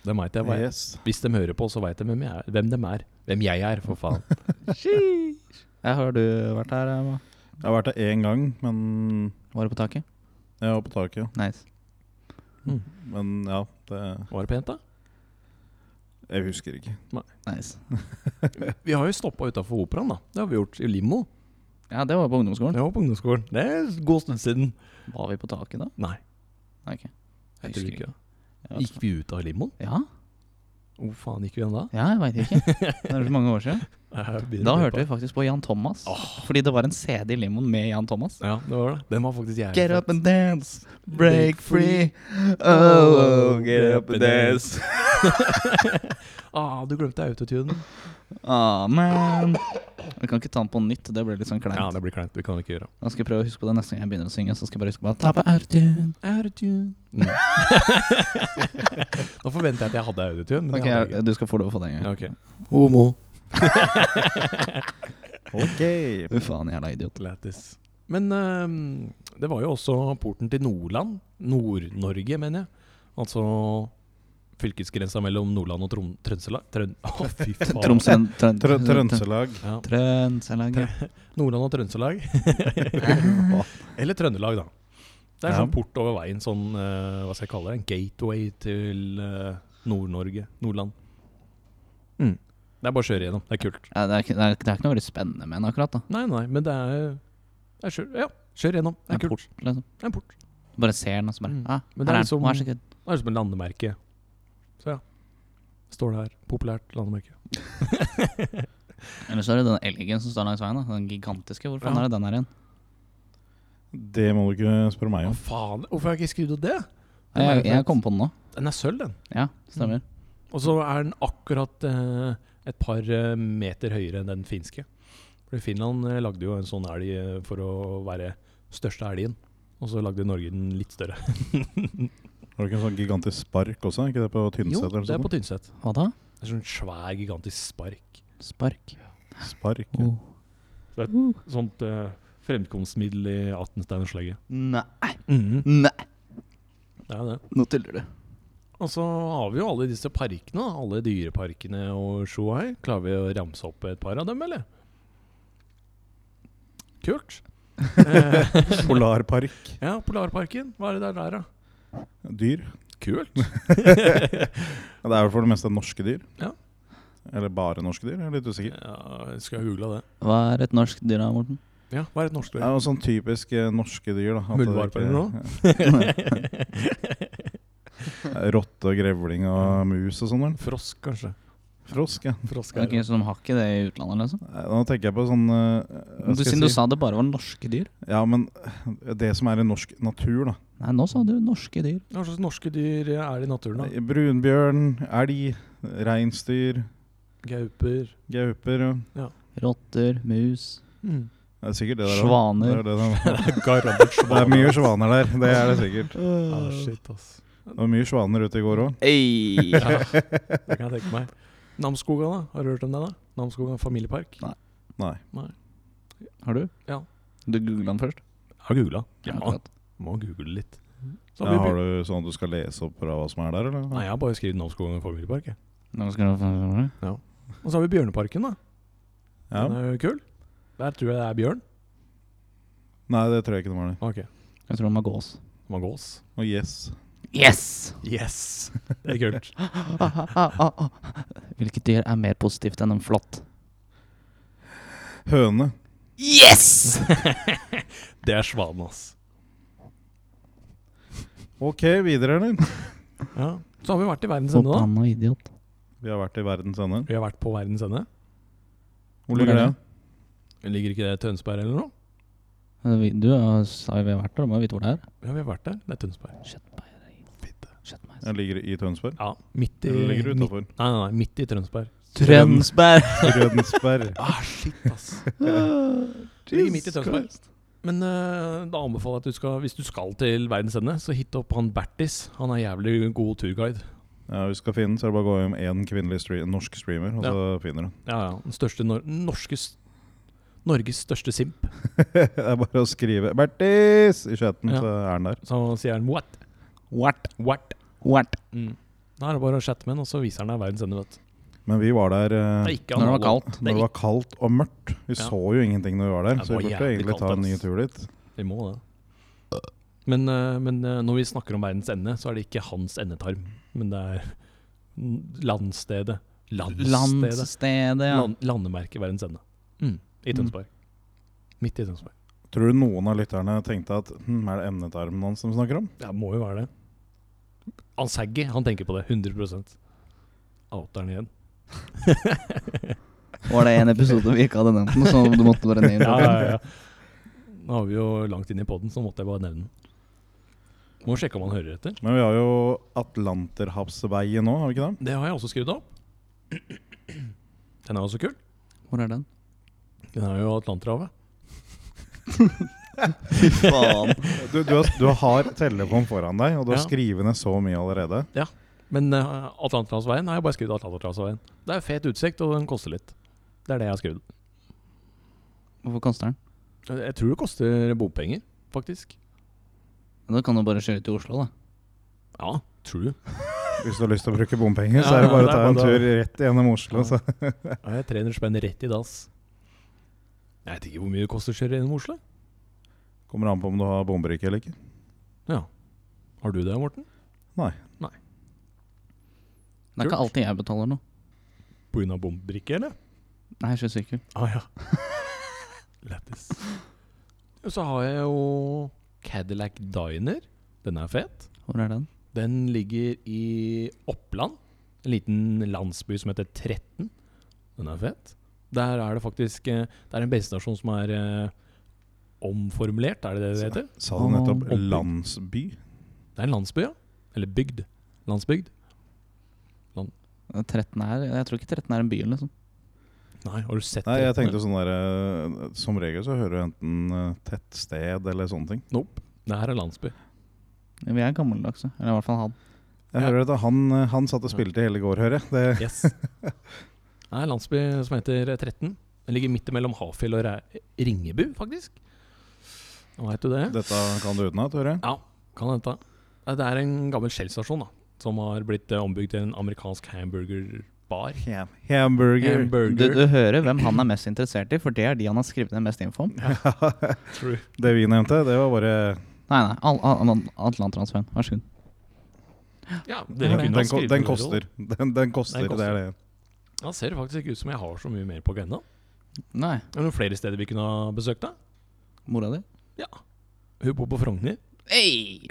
Speaker 2: Dem veit jeg hva jeg
Speaker 3: Yes.
Speaker 2: Hvis de hører på, så veit de hvem, jeg er, hvem dem er. Hvem jeg er, for faen.
Speaker 1: Jeg hører du vært her, Emma.
Speaker 3: Jeg har vært der én gang, men
Speaker 1: Var du på taket?
Speaker 3: jeg var på taket.
Speaker 1: Nice.
Speaker 2: Mm.
Speaker 3: Men ja, det
Speaker 2: Var det pent, da?
Speaker 3: Jeg husker ikke.
Speaker 1: nice.
Speaker 2: Vi har jo stoppa utafor operaen, da. Det har vi gjort i limo.
Speaker 1: Ja, det var på ungdomsskolen.
Speaker 2: Det var på ungdomsskolen. Det er en god stund siden.
Speaker 1: Var vi på taket da?
Speaker 2: Nei,
Speaker 1: Nei, ok.
Speaker 2: jeg
Speaker 1: husker
Speaker 2: tror ikke.
Speaker 1: Jeg vet
Speaker 2: Gikk vi ut av limoen?
Speaker 1: ikke. Ja,
Speaker 2: Hvor faen gikk vi igjen da?
Speaker 1: ja jeg veit ikke. Det er så mange år siden. Da hørte vi faktisk på Jan Thomas. Fordi det var en CD i limoen med Jan Thomas.
Speaker 2: Ja, det var det. Den var faktisk jævlig
Speaker 1: Get
Speaker 2: fet.
Speaker 1: up and dance, break free. Oh, get up and dance.
Speaker 2: ah, du glemte autotune.
Speaker 1: Ah, man. Vi kan ikke ta den på nytt, det blir litt sånn
Speaker 2: Ja,
Speaker 1: kleint.
Speaker 2: det blir kleint. Det kan vi ikke gjøre.
Speaker 1: Da skal jeg prøve å huske på det neste gang jeg begynner å synge. Så skal jeg bare huske på å ta på autotune.
Speaker 2: Autotune. Mm. Nå forventer jeg at jeg hadde autotune. men det
Speaker 1: Ok,
Speaker 2: hadde jeg ikke.
Speaker 1: jeg- du skal få lov å få det en gang.
Speaker 2: Ja, ok. Homo.
Speaker 3: Ok.
Speaker 1: Fy faen, jævla idiot.
Speaker 2: Lættis. Men ehm, det var jo også porten til Nordland. Nord-Norge, mener jeg. Altså fylkesgrensa mellom Nordland og Trom Trøndelag. Trøn Å, fy faen.
Speaker 1: Tromsø Trøn-
Speaker 3: Trø Trøndelag.
Speaker 2: Ja.
Speaker 1: Trøndelag. ja.
Speaker 2: Nordland og Trøndelag. Eller Trøndelag, da. Det er
Speaker 3: Ja.
Speaker 2: sånn port over veien, sånn eh, hva skal jeg kalle det, en gateway til eh, Nord-Norge, Nordland. Mm. Det er bare å kjøre gjennom. Det er kult.
Speaker 1: Ja, det, er, ikke- det, er, det er ikke noe veldig spennende med den akkurat. da
Speaker 2: Nei, nei, men det er, det er kjør, Ja, kjør gjennom. Det
Speaker 1: En
Speaker 2: er kult.
Speaker 1: port, liksom.
Speaker 2: Det er en port.
Speaker 1: Du bare ser den, og så bare
Speaker 2: Mm.
Speaker 1: ah,
Speaker 2: Men
Speaker 1: her
Speaker 2: det er
Speaker 1: er den.
Speaker 2: liksom-
Speaker 1: Vær så god.
Speaker 2: Det er som en landemerke. Så ja. Står det her. Populært landemerke.
Speaker 1: Eller så er det den elgen som står langs veien. da Den gigantiske. Hvor faen
Speaker 2: Ja.
Speaker 1: er det den her igjen?
Speaker 3: Det må du ikke spørre meg
Speaker 2: Å,
Speaker 3: om.
Speaker 2: faen. Hvorfor har jeg ikke skrudd av det? Den er
Speaker 1: Jeg,
Speaker 2: jo
Speaker 1: jeg
Speaker 2: fet.
Speaker 1: kom på den nå.
Speaker 2: Den er sølv, den.
Speaker 1: Ja, stemmer.
Speaker 2: Og så er den akkurat eh, et par eh, meter høyere enn den finske. Fordi Finland eh, lagde jo en sånn elg eh, for å være største elgen. Og så lagde Norge den litt større.
Speaker 3: Har du ikke en sånn gigantisk spark også? Er Ikke det på
Speaker 2: Jo,
Speaker 3: Tynset? eller
Speaker 2: det er på
Speaker 3: sånt?
Speaker 2: Tynset.
Speaker 1: Hva da?
Speaker 2: Det er sånn svær, gigantisk spark.
Speaker 1: Spark.
Speaker 3: Spark. ja.
Speaker 1: Oh.
Speaker 2: Sånt eh, fremkomstmiddel i 18-steinerslaget.
Speaker 1: Nei,
Speaker 2: Mhm,
Speaker 1: nei,
Speaker 2: Det er det.
Speaker 1: nå tuller du.
Speaker 2: Og så har vi jo alle disse parkene, da. alle dyreparkene og sjohei. Klarer vi å ramse opp et par av dem, eller? Kult. Eh,
Speaker 3: Polarpark.
Speaker 2: Ja, Polarparken. Hva er det der, der da?
Speaker 3: Dyr.
Speaker 2: Kult.
Speaker 3: Ja, Det er jo for det meste norske dyr.
Speaker 2: Ja.
Speaker 3: Eller bare norske dyr, jeg er litt usikker.
Speaker 2: Ja, jeg skal google det.
Speaker 1: Hva er et norsk dyr, da, Morten?
Speaker 2: Ja, hva er et norsk
Speaker 3: Det
Speaker 2: ord?
Speaker 3: er jo sånn typisk eh, norske dyr. da at det
Speaker 2: Muldvarp
Speaker 3: ikke-
Speaker 2: eller noe?
Speaker 3: Ja. Rotte og grevling og mus og sånn. vel?
Speaker 2: Frosk, kanskje.
Speaker 3: Frosk, ja.
Speaker 2: Frosk er
Speaker 1: Ok, så de har ikke det i utlandet, liksom?
Speaker 3: Nei, Nå tenker jeg på sånn eh, hva
Speaker 1: Men Du,
Speaker 3: skal
Speaker 1: siden du
Speaker 3: jeg si?
Speaker 1: sa det bare var norske dyr?
Speaker 3: Ja, men det som er i norsk natur, da.
Speaker 1: Nei, nå sa du norske dyr.
Speaker 2: Hva slags norske dyr er det i naturen? da?
Speaker 3: Eh, Brunbjørn, elg, reinsdyr,
Speaker 2: Gauper
Speaker 3: gauper ja.
Speaker 1: Rotter, mus,
Speaker 3: Mm. Det er sikkert det der også. Det er,
Speaker 1: svaner.
Speaker 3: det, der.
Speaker 2: Garantert
Speaker 3: det er mye svaner der, det er det sikkert.
Speaker 2: Ah, shit, ass.
Speaker 3: Det var mye svaner ute i går òg.
Speaker 1: Ei.
Speaker 2: Ja, det kan jeg tenke meg. Namsskogan, da? Har du hørt om det? da? Namsskogan familiepark?
Speaker 1: Nei.
Speaker 3: Nei.
Speaker 1: Har du?
Speaker 2: Ja.
Speaker 1: Du googla den først?
Speaker 2: Jeg har googla.
Speaker 1: Akkurat.
Speaker 2: må google litt. Så
Speaker 3: Ja,
Speaker 2: har vi
Speaker 3: har
Speaker 2: by-
Speaker 3: du sånn at du skal lese opp fra hva som er der, eller?
Speaker 2: Nei, jeg har bare skrevet Namsskogan familiepark. jeg.
Speaker 1: Nå skal du få
Speaker 2: Og så har vi Bjørneparken, da.
Speaker 3: Ja.
Speaker 2: Den er jo kul. Der tror jeg det er bjørn.
Speaker 3: Nei, det tror jeg ikke det var det.
Speaker 2: Ok,
Speaker 1: Jeg tror de har gås.
Speaker 2: det var gås.
Speaker 3: Og yes.
Speaker 1: Yes!
Speaker 2: Yes! Det er kult.
Speaker 1: Hvilket dyr er mer positivt enn en flått?
Speaker 3: Høne.
Speaker 1: Yes!
Speaker 2: Det er svanen, ass.
Speaker 3: Ok, videre, eller?
Speaker 2: Ja. Så har vi vært i verdens ende, da.
Speaker 1: Forbanna idiot.
Speaker 3: Vi har vært i verdens ende.
Speaker 2: Vi har vært på verdens ende.
Speaker 3: Hvor ligger det?
Speaker 2: Ligger ikke det i Tønsberg eller noe?
Speaker 1: Vi- Du eh, sa jo vi har vært der, du må jo vite hvor det er.
Speaker 2: Ja, vi har vært der. Det er Tønsberg.
Speaker 1: Shit, meg.
Speaker 3: Jeg ligger i Tønsberg.
Speaker 2: Ja, midt i
Speaker 3: Eller ligger det
Speaker 2: midt,
Speaker 3: utafor?
Speaker 2: Nei, nei, nei, midt i Tønsberg.
Speaker 1: Trønsberg!
Speaker 3: Rødensberg.
Speaker 2: Ah, shit, ass. Ligger midt i Tønsberg. Men eh, da anbefaler jeg at du skal, hvis du skal til verdens ende, så hit opp han Bertis. Han er jævlig god turguide.
Speaker 3: Ja, vi skal finne den, så er det bare å gå hjem én kvinnelig stre norsk streamer, og så finner du den.
Speaker 2: Ja, ja. Den største nor norskes Norges største simp.
Speaker 3: det er bare å skrive 'Bertis' i chatten,
Speaker 2: Ja.
Speaker 3: så er den der.
Speaker 2: Så sier han what?
Speaker 1: What?
Speaker 2: What?
Speaker 1: What?
Speaker 2: Mm. Da er det bare å chatte med han, og så viser han deg verdens ende, vet du.
Speaker 3: Men vi var der eh,
Speaker 2: Det Mm. er ikke
Speaker 1: Når det var
Speaker 2: analogt.
Speaker 1: kaldt.
Speaker 3: når det var kaldt og mørkt. Vi
Speaker 2: Ja.
Speaker 3: så jo ingenting når vi var der,
Speaker 2: Ja, det
Speaker 3: så
Speaker 2: var
Speaker 3: vi burde
Speaker 2: jævlig
Speaker 3: egentlig ta
Speaker 2: kaldt,
Speaker 3: en ny
Speaker 2: ass.
Speaker 3: tur dit.
Speaker 2: Vi må det. Men, eh, men eh, når vi snakker om verdens ende, så er det ikke hans endetarm, men det er n- landstedet. Landstedet.
Speaker 1: Landstedet, ja.
Speaker 2: Land, landemerket verdens ende. Mm. I Tønsberg. Midt i Tønsberg.
Speaker 3: Tror du noen av lytterne tenkte at hm, er det emnetarmen hans de snakker om?
Speaker 2: Ja, må jo være det. Han Saggy, han tenker på det. 100 Outeren igjen.
Speaker 1: Var det en episode vi ikke hadde nevnt noe, så du måtte bare ned?
Speaker 2: Ja, ja, ja. Nå har vi jo langt inn i poden, så måtte jeg bare nevne den. Må sjekke om han hører etter.
Speaker 3: Men vi har jo Atlanterhavsveien nå, har vi ikke det?
Speaker 2: Det har jeg også skrevet opp. Den er også kul.
Speaker 1: Hvor er den?
Speaker 2: Den er jo Atlanterhavet.
Speaker 1: Fy faen.
Speaker 3: Du, du, har, du har telefon foran deg, og du har
Speaker 2: Ja.
Speaker 3: skrevet ned så mye allerede.
Speaker 2: Men uh, Atlanterhavsveien har jeg bare skrevet Atlanterhavsveien. Det er fet utsikt, og den koster litt. Det er det jeg har skrevet.
Speaker 1: Hvorfor kaster den?
Speaker 2: Jeg tror det koster bompenger, faktisk.
Speaker 1: Da kan du bare kjøre til Oslo, da.
Speaker 2: Ja, tror du.
Speaker 3: Hvis du har lyst til å bruke bompenger, så
Speaker 2: Ja,
Speaker 3: er det bare å
Speaker 2: det er
Speaker 3: ta en
Speaker 2: bare-
Speaker 3: tur rett gjennom Oslo. Så.
Speaker 2: Ja, jeg trener spenn rett i dass. Jeg vet ikke hvor mye det koster å kjøre gjennom Oslo.
Speaker 3: Kommer an på om du har bombrikke eller ikke.
Speaker 2: Ja. Har du det, Morten?
Speaker 1: Det er ikke alltid jeg betaler noe.
Speaker 2: På grunn av bombrikke, eller?
Speaker 1: Nei, jeg kjører sykkel.
Speaker 2: Ah, ja. Lættis. Og så har jeg jo Cadillac Diner. Den er fet.
Speaker 1: Hvor er den?
Speaker 2: Den ligger i Oppland. En liten landsby som heter Tretten. Den er fet. Der er det faktisk eh, Det er en bensinstasjon som er eh, omformulert, er det det det heter?
Speaker 3: Sa du nettopp
Speaker 1: Åh.
Speaker 3: landsby?
Speaker 2: Det er en landsby, ja. Eller bygd. Landsbygd.
Speaker 1: 13 er, jeg tror ikke 13 er en by, liksom.
Speaker 2: Nei, har du sett
Speaker 3: Nei, jeg
Speaker 2: Tretten, eller?
Speaker 3: tenkte sånn der eh, Som regel så hører du enten eh, tettsted eller sånne ting.
Speaker 2: Nope. Det her er landsby.
Speaker 1: Vi er gammeldagse. Eller i hvert fall han.
Speaker 3: Jeg
Speaker 2: Ja.
Speaker 3: hører at han, eh, han satt og spilte hele går, hører jeg. Det,
Speaker 2: Yes. Det er en landsby som heter eh, Tretten. Den ligger midt mellom Hafjell og Re- Ringebu, faktisk. Nå Vet du det?
Speaker 3: dette kan du utenat, hører jeg.
Speaker 2: Kan hende. Nei, Det er en gammel Shell-stasjon da som har blitt eh, ombygd til en amerikansk hamburgerbar.
Speaker 3: Hamburger.
Speaker 1: Du,
Speaker 2: Hamburger.
Speaker 1: du hører hvem han er mest interessert i, for det er de han har skrevet ned mest info om.
Speaker 2: True.
Speaker 3: det vi nevnte, det var bare
Speaker 1: Nei, nei. Al al al Atlanterhavsveien. Vær så god.
Speaker 2: Ja, dere
Speaker 3: Den, den, ko-
Speaker 2: kunne ha skrevet
Speaker 3: den
Speaker 2: det,
Speaker 3: koster. Den, den koster.
Speaker 2: Den koster.
Speaker 3: Det er det.
Speaker 2: da. Da ser det faktisk ikke ut som jeg har så mye mer på agenda.
Speaker 1: Nei.
Speaker 2: Er det noen flere steder vi kunne ha besøkt, da?
Speaker 1: Mora di?
Speaker 2: Hun bor på Frogner.
Speaker 3: Eh,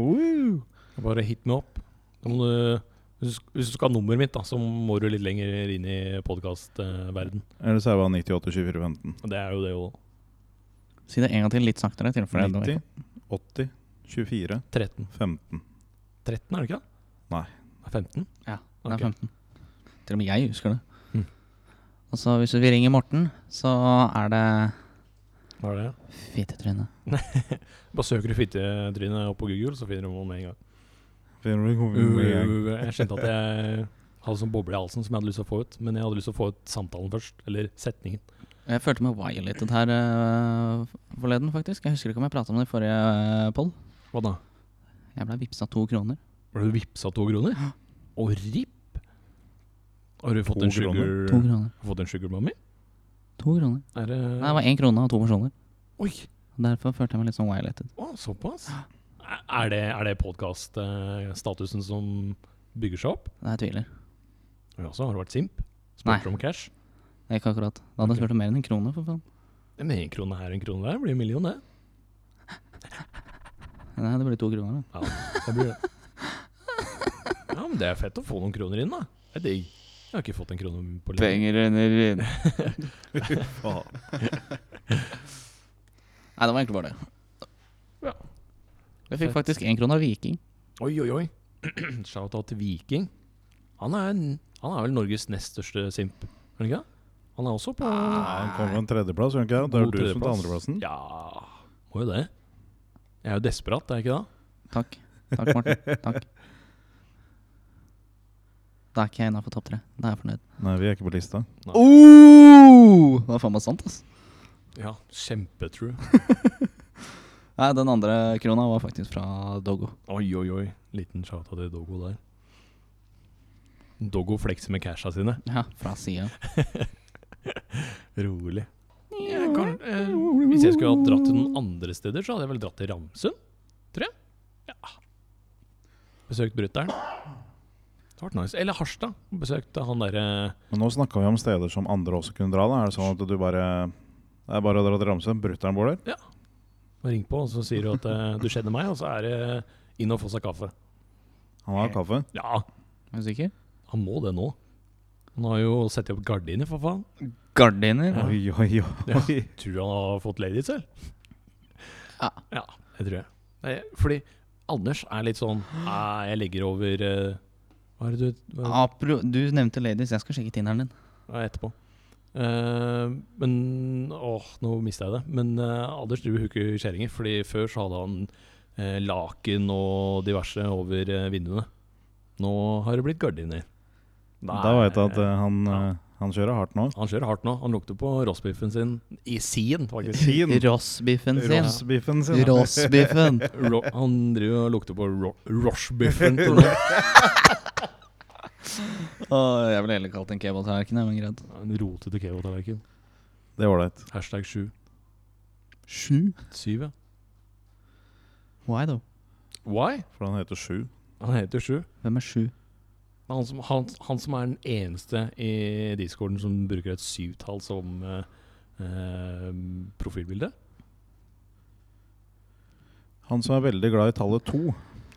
Speaker 3: woo.
Speaker 2: Bare hit meg opp. Om du, hvis du sk- hvis du skal ha nummeret mitt, da, så må du litt lenger inn i podkastverden.
Speaker 3: Eller så er det bare 98 24 15.
Speaker 2: Og det er jo det òg.
Speaker 1: Si det en gang til, litt saktere. i tilfelle det-
Speaker 3: 90, 80, 24,
Speaker 2: 13.
Speaker 3: 15.
Speaker 2: 13, er det ikke det?
Speaker 3: Nei.
Speaker 2: Det er 15?
Speaker 1: Ja, det er
Speaker 2: Ok.
Speaker 1: 15. Til og med jeg husker det.
Speaker 2: Mm.
Speaker 1: Og så hvis vi ringer Morten, så er det
Speaker 2: Hva er det?
Speaker 1: fittetryne.
Speaker 2: Bare søker du fittetrynet opp på Google, så finner du henne med en gang.
Speaker 3: Finner du-
Speaker 2: Uh, Jeg kjente at jeg hadde sånn boble i halsen som jeg hadde lyst til å få ut. Men jeg hadde lyst til å få ut samtalen først, eller setningen.
Speaker 1: Jeg følte meg violated her øh, forleden, faktisk. Jeg husker ikke om jeg prata om det i forrige øh, poll.
Speaker 2: Hva da?
Speaker 1: Jeg blei vippsa to kroner.
Speaker 2: Ble du vippsa to kroner? Og ripp! Har du fått
Speaker 3: To
Speaker 2: en
Speaker 3: kroner?
Speaker 1: To
Speaker 2: sugar,
Speaker 1: kroner.
Speaker 2: fått en sugar mommy?
Speaker 1: To kroner.
Speaker 2: Er det
Speaker 1: Nei, det var én krone og to personer.
Speaker 2: Oi!
Speaker 1: Derfor følte jeg meg litt sånn violated.
Speaker 2: Å, såpass? Er- Er det, er det podkast-statusen som bygger seg opp?
Speaker 1: Det er jeg tviler.
Speaker 2: Ja, så har du vært simp?
Speaker 1: Nei.
Speaker 2: Spurt om cash?
Speaker 1: Det er ikke akkurat. Da hadde jeg
Speaker 2: Ok.
Speaker 1: spurt om mer enn en krone, for faen.
Speaker 2: Men en krone her, en krone der blir en million, det.
Speaker 1: Nei, det blir to kroner. da.
Speaker 2: Ja, det blir det. Ja, men det er fett å få noen kroner inn, da. Det er digg. Jeg har ikke fått en krone på lenge.
Speaker 1: renner inn.
Speaker 3: Ah,
Speaker 1: Nei, det var egentlig bare det.
Speaker 2: Ja.
Speaker 1: Jeg fikk
Speaker 2: Fett.
Speaker 1: faktisk én krone av Viking.
Speaker 2: Oi, oi, oi. Shout-out til Viking. Han er, en, han er vel Norges nest største simp, er han ikke det? Han er også på
Speaker 3: Han kom på en tredjeplass, gjør han ikke Ah, det? Det er
Speaker 2: god
Speaker 3: jo du som tar
Speaker 2: tredjeplass.
Speaker 3: andreplassen.
Speaker 2: Ja, må jo det. Jeg er jo desperat, er jeg ikke det?
Speaker 1: Takk. Takk, Morten. Takk. Da er ikke jeg innafor topp tre. Da er jeg fornøyd.
Speaker 3: Nei, vi er ikke på lista.
Speaker 1: Oh! Det var faen meg sant, ass.
Speaker 2: Ja, kjempetrue.
Speaker 1: Nei, den andre krona var faktisk fra Doggo.
Speaker 2: Oi, oi, oi. Liten shout-out til Doggo der. Doggo flekser med casha sine.
Speaker 1: Ja, fra sida.
Speaker 2: Rolig. Jeg kan, eh, hvis jeg skulle ha dratt til noen andre steder, så hadde jeg vel dratt til Ramsund, tror jeg. Ja. Besøkt brutter'n. Det hadde vært nice. Eller Harstad. Besøkt han eh, derre
Speaker 3: Men nå snakka vi om steder som andre også kunne dra. da Er det sånn at du bare Det er bare å dra til Ramsund. Brutter'n bor der.
Speaker 2: man ringer på, og så sier du at eh, du kjenner meg, og så er det eh, inn og få seg kaffe.
Speaker 3: Han har kaffe.
Speaker 2: Ja,
Speaker 1: Er du sikker?
Speaker 2: han må det nå. Han har jo satt opp gardiner, for faen.
Speaker 1: Gardiner.
Speaker 3: Oi, oi, oi.
Speaker 2: Tror du han har fått ladies, eller?
Speaker 1: Ja.
Speaker 2: ja. Det tror jeg. Nei, fordi Anders er litt sånn «Nei, Jeg legger over eh, Hva er det du hva er det
Speaker 1: Apro, du nevnte ladies. Jeg skal sjekke tinderen din.
Speaker 2: Ja, etterpå. Eh, men åh, nå mista jeg det. Men eh, Anders driver hooker kjerringer, Fordi før så hadde han eh, laken og diverse over eh, vinduene. Nå har det blitt gardiner.
Speaker 3: Da veit jeg at eh, han, eh, han kjører hardt nå.
Speaker 2: Han kjører hardt nå. Han lukter på roastbiffen sin i sien, faktisk.
Speaker 3: Fin.
Speaker 1: Rossbiffen sin.
Speaker 3: Rossbiffen sin.
Speaker 1: Rossbiffen.
Speaker 2: Ro han driver og lukter på ro roastbiffen. til nå.
Speaker 1: Åh, jeg ville heller kalt det en kebabtallerken, jeg, men greit.
Speaker 2: En rotete kebabtallerken.
Speaker 3: Det er ålreit.
Speaker 2: Hashtag sju.
Speaker 1: Sju?
Speaker 2: Syv, ja.
Speaker 1: Why, though?
Speaker 2: Why?
Speaker 3: For han heter Sju.
Speaker 2: Han heter sju.
Speaker 1: Hvem er sju?
Speaker 2: Men Han som, han, han som er den eneste i discorden som bruker et syvtall som eh, eh, profilbilde.
Speaker 3: Han som er veldig glad i tallet to.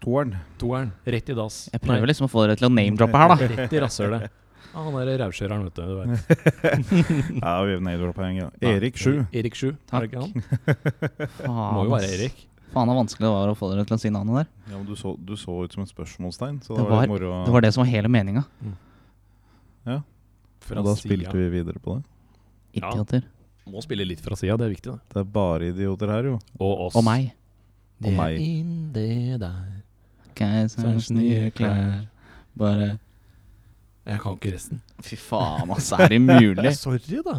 Speaker 3: Toeren.
Speaker 2: Toeren. Rett i dass.
Speaker 1: Jeg prøver liksom å få dere til å name-droppe her, da.
Speaker 2: Nei, rett i rasshølet. Ja, han er rauskjøreren, vet du. du vet.
Speaker 3: Ja, vi er nede på en gang. Erik Sju.
Speaker 2: Erik Sju. Er det ikke han?
Speaker 1: Faen,
Speaker 2: Må jo
Speaker 1: ass.
Speaker 2: være Erik.
Speaker 1: Faen, så vanskelig det var å få dere til å si navnet der.
Speaker 3: Ja, men du så, du så ut som et spørsmålstegn, så
Speaker 1: Det
Speaker 3: det var litt
Speaker 1: var-
Speaker 3: moro. å-
Speaker 1: Det var det som var hele meninga.
Speaker 2: Fra
Speaker 3: og da
Speaker 2: sida.
Speaker 3: spilte vi videre på det.
Speaker 2: Ja.
Speaker 1: Idioter.
Speaker 2: Må spille litt fra sida, det er viktig. Da.
Speaker 3: Det er bare idioter her, jo.
Speaker 2: Og oss.
Speaker 1: Og meg.
Speaker 3: Og
Speaker 2: Det
Speaker 3: meg.
Speaker 2: er inn det der.
Speaker 1: Keiserens nye klær. Bare
Speaker 2: Jeg kan ikke resten.
Speaker 1: Fy faen, altså. Er det mulig?
Speaker 2: Sorry, da.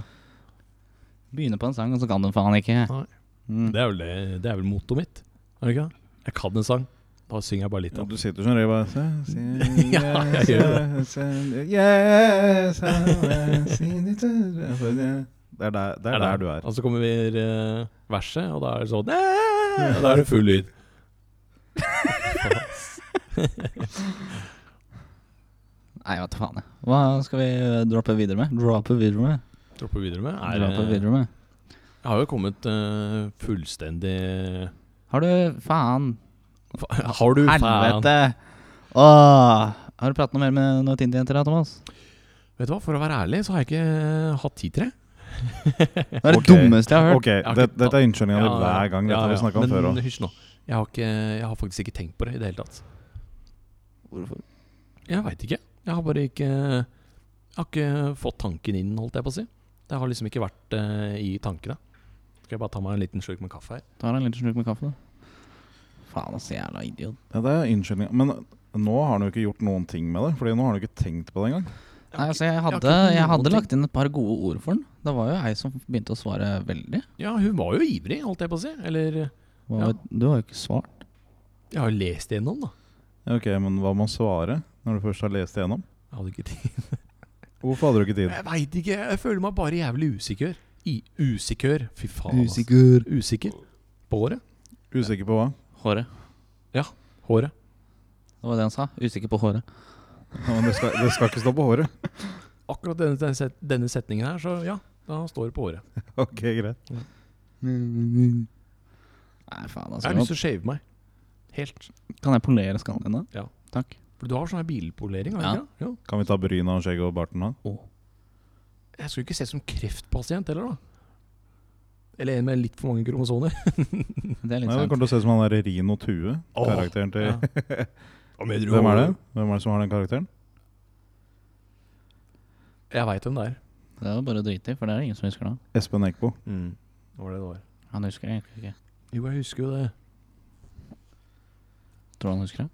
Speaker 1: Begynner på en sang, og så kan du faen ikke.
Speaker 2: Nei.
Speaker 1: Mm.
Speaker 2: Det er vel, det- det er vel mottoet mitt. Er det ikke? det? Jeg kan en sang. Da synger jeg bare litt
Speaker 3: Ja,
Speaker 2: av
Speaker 3: du sitter som regel bare se, se,
Speaker 2: Ja, jeg gjør
Speaker 3: se, se, yes, I see it. Det er der, det er der du er.
Speaker 2: Og så kommer vi eh, verset, og da er det sånn Og da er det full lyd.
Speaker 1: Nei, vet du faen. jeg. Hva skal vi droppe videre øh, med? Droppe videre med?
Speaker 2: Dropper videre med.
Speaker 1: Droppe
Speaker 2: Er, det-
Speaker 1: videre med.
Speaker 2: Jeg har jo kommet eh, fullstendig
Speaker 1: Har du Faen.
Speaker 2: Har du faen?
Speaker 1: Helvete. Åh. Har du pratet noe mer med noen Tinder-jenter, da, Thomas?
Speaker 2: Vet du hva, For å være ærlig så har jeg ikke eh, hatt tid til det.
Speaker 1: Det er det
Speaker 3: Ok.
Speaker 1: dummeste jeg har hørt.
Speaker 3: Ok,
Speaker 2: har
Speaker 3: det,
Speaker 2: ikke
Speaker 3: Dette er innskyldninga
Speaker 2: Ja,
Speaker 3: hver gang. Dette
Speaker 2: ja,
Speaker 3: har vi
Speaker 2: ja.
Speaker 3: snakket om før
Speaker 2: Men
Speaker 3: også.
Speaker 2: hysj nå. Jeg har, ikke, jeg har faktisk ikke tenkt på det i det hele tatt.
Speaker 1: Hvorfor?
Speaker 2: Jeg veit ikke. Jeg har bare ikke Jeg har ikke fått tanken inn, holdt jeg på å si. Det har liksom ikke vært eh, i tankene. Skal jeg bare ta meg en liten slurk med kaffe her?
Speaker 1: Tar en liten slurk med kaffe, da. Faen, altså, jævla idiot.
Speaker 3: Dette er innskyldninga. Men nå har han jo ikke gjort noen ting med det. Fordi nå har han jo ikke tenkt på det engang.
Speaker 1: Nei, altså, jeg
Speaker 2: har
Speaker 1: hadde,
Speaker 2: ikke noen
Speaker 1: jeg hadde
Speaker 2: ting.
Speaker 1: lagt inn et par gode ord for den. Det var jo ei som begynte å svare veldig.
Speaker 2: Ja, hun var jo ivrig, holdt jeg på å si. Eller eh,
Speaker 1: Hva
Speaker 2: Ja.
Speaker 1: var- Du har jo ikke svart.
Speaker 2: Jeg har jo lest igjennom, da.
Speaker 3: Ja, Ok, Men hva med å svare når du først har lest igjennom?
Speaker 2: Jeg hadde ikke tid.
Speaker 3: Hvorfor hadde du ikke tid?
Speaker 2: Jeg veit ikke. Jeg føler meg bare jævlig usikker. I usikker. Fy faen. ass.
Speaker 1: Usikker.
Speaker 2: Usikker. På håret.
Speaker 3: Usikker på hva?
Speaker 1: Håret.
Speaker 2: Håret.
Speaker 1: Det var det han sa. Usikker på håret.
Speaker 3: Ja, men det, skal, det skal ikke stå på håret.
Speaker 2: Akkurat denne, denne set- denne setningen her, så ja. Da står det på håret.
Speaker 3: Ok, greit.
Speaker 1: Nei, faen, altså.
Speaker 2: Jeg har lyst til å shave meg. Helt.
Speaker 1: Kan jeg polere skallen din, da?
Speaker 2: Ja.
Speaker 1: Takk.
Speaker 2: For du har sånn her bilpolering? har du
Speaker 1: Ja.
Speaker 2: ikke det? Jo.
Speaker 3: Kan vi ta bryna og skjegget og barten da?
Speaker 2: Jeg skulle ikke se som kreftpasient heller, da. Eller en med litt for mange kromosoner.
Speaker 1: Det er litt
Speaker 3: Nei, det
Speaker 1: sant.
Speaker 3: kommer til å se ut som han der Rino Tue.
Speaker 2: Åh,
Speaker 3: Karakteren til
Speaker 2: ja.
Speaker 3: Hvem er det? Hvem er det som har den karakteren?
Speaker 2: Jeg veit hvem det er.
Speaker 1: Det er jo bare å drite i, for det er ingen som husker det.
Speaker 3: Espen Eckbo.
Speaker 2: Det var det det var.
Speaker 1: Han husker det, jeg husker ikke.
Speaker 2: Jo, jeg husker jo det.
Speaker 1: Tror du han husker det?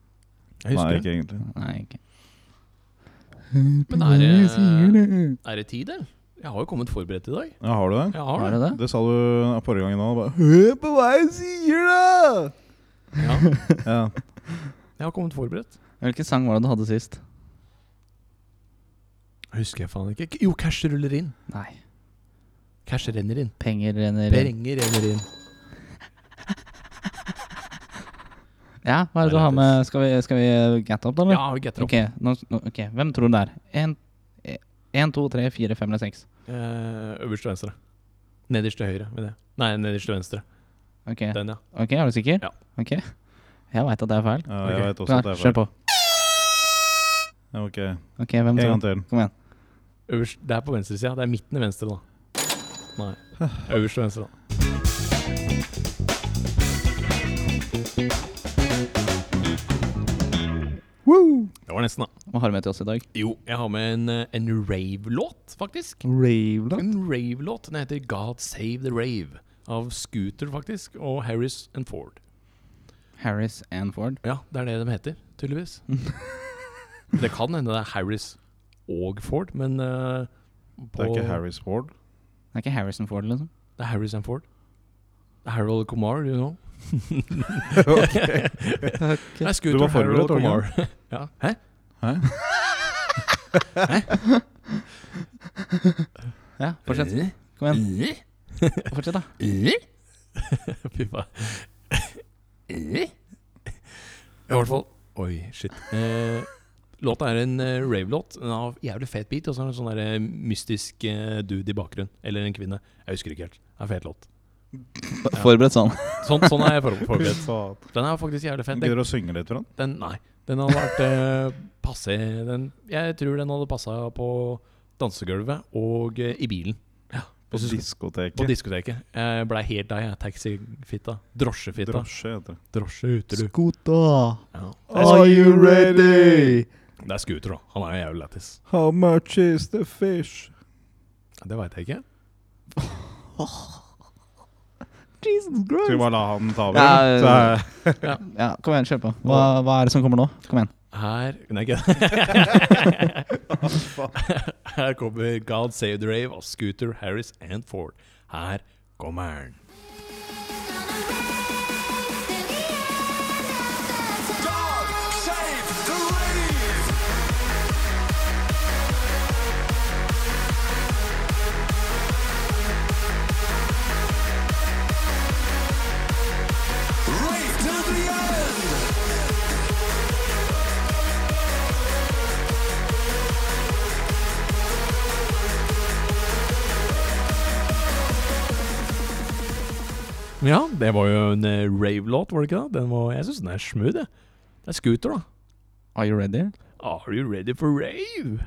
Speaker 2: Jeg
Speaker 3: Nei,
Speaker 2: husker det.
Speaker 3: ikke egentlig.
Speaker 1: Nei, ikke.
Speaker 2: Men er det, er det tid, eller? Jeg har jo kommet forberedt i dag.
Speaker 3: Ja, har du det?
Speaker 2: Jeg
Speaker 1: Var
Speaker 2: har
Speaker 1: det
Speaker 2: det.
Speaker 1: det?
Speaker 3: Det sa du ja, forrige gangen òg. Bare Hør på hva jeg sier, da!
Speaker 2: Ja,
Speaker 3: Ja.
Speaker 2: jeg har kommet forberedt.
Speaker 1: Hvilken sang var det du hadde sist?
Speaker 2: Jeg husker jeg faen ikke. Jo, cash ruller inn.
Speaker 1: Nei.
Speaker 2: Cash renner inn.
Speaker 1: Penger renner inn.
Speaker 2: Penger renner inn.
Speaker 1: Ja, hva er det du har med? Skal vi, skal vi get up, da? eller?
Speaker 2: Sånn, Ja, vi getter opp.
Speaker 1: Ok, nå, nå- ok, hvem tror du det er? En, eh, en, to, tre, fire, fem eller seks.
Speaker 2: Eh, øverst til venstre. Nederst til høyre. Med det. Nei, nederst til venstre.
Speaker 1: Ok,
Speaker 2: Den, ja.
Speaker 1: ok, er du sikker?
Speaker 2: Ja.
Speaker 1: Ok. Jeg veit at det er feil.
Speaker 3: ja jeg
Speaker 2: Ok.
Speaker 3: vet også at
Speaker 1: Nei,
Speaker 3: det er
Speaker 1: Kjør
Speaker 3: feil.
Speaker 1: på.
Speaker 3: Ja, Ok,
Speaker 1: Ok, hvem
Speaker 3: En gang
Speaker 1: tror du?
Speaker 3: til.
Speaker 1: Kom igjen.
Speaker 2: Øverst, det er på venstresida. Det er midten i venstre, da. Nei. Øverst til venstre, da. Det var nesten, da.
Speaker 1: Hva har du med til oss i dag?
Speaker 2: Jo, jeg har med en, eh, en rave-låt, faktisk.
Speaker 1: Rave,
Speaker 2: En rave-låt. Den heter God Save The Rave. Av Scooter, faktisk, og Harris and Ford.
Speaker 1: Harris and Ford.
Speaker 2: Ja, det er det de heter, tydeligvis. det kan hende det er Harris og Ford, men eh,
Speaker 3: Det er
Speaker 2: på-
Speaker 3: ikke Harris Ford.
Speaker 1: Det er ikke Harrison Ford, liksom.
Speaker 2: Det er Harrison Ford. Det er Harold Kumar, you know. Det er
Speaker 3: Du
Speaker 2: Scooter
Speaker 3: var forberedt,
Speaker 2: Harold
Speaker 3: var du
Speaker 2: Kumar. ja. Hæ?
Speaker 3: Hæ?
Speaker 1: Ja, fortsett. Kom igjen. Fortsett, da.
Speaker 2: Fy faen. I hvert fall Oi, shit. Eh, låta er en eh, rave-låt. Den har jævlig fet beat, og så er det en sånn der, eh, mystisk eh, dude i bakgrunnen. Eller en kvinne. Jeg husker ikke helt. Det er en fet låt.
Speaker 1: Forberedt sånn.
Speaker 2: Sånn, sånn er jeg for-
Speaker 3: Fy
Speaker 2: forberedt.
Speaker 3: faen.
Speaker 2: Den er faktisk jævlig fet. Den,
Speaker 3: Gidder du å synge litt for han?
Speaker 2: den, nei, den hadde vært eh, passe den, Jeg tror den hadde passa på dansegulvet og eh, i bilen. Ja,
Speaker 3: På
Speaker 2: jeg synes- På
Speaker 3: diskoteket.
Speaker 2: diskoteket. Jeg blei helt deg, jeg. Taxifitta. Drosjefitta.
Speaker 3: Drosje heter det.
Speaker 2: Drosje ute, du.
Speaker 1: Skota,
Speaker 2: Ja.
Speaker 3: Are you ready?
Speaker 2: Det er scooter, da. Han er jo jævlig lættis.
Speaker 3: How much is the fish?
Speaker 2: Det veit jeg ikke.
Speaker 1: Jesus
Speaker 3: Skal vi
Speaker 1: Christ.
Speaker 3: bare la han ta over?
Speaker 1: Ja,
Speaker 3: eller? Så er-
Speaker 1: Ja, kom igjen, kjør på. Hva, hva er det som kommer nå? Kom igjen.
Speaker 2: Her Nei, ikke Her kommer God Save the Rave av Scooter, Harris and Ford. Her kommer han.
Speaker 4: God save the rave! Rave to the end!
Speaker 2: Ja, det var jo en eh, rave-låt, var det ikke det? Den var, jeg syns den er smooth, jeg. Det er scooter, da.
Speaker 1: Are you ready?
Speaker 2: Are you ready for rave?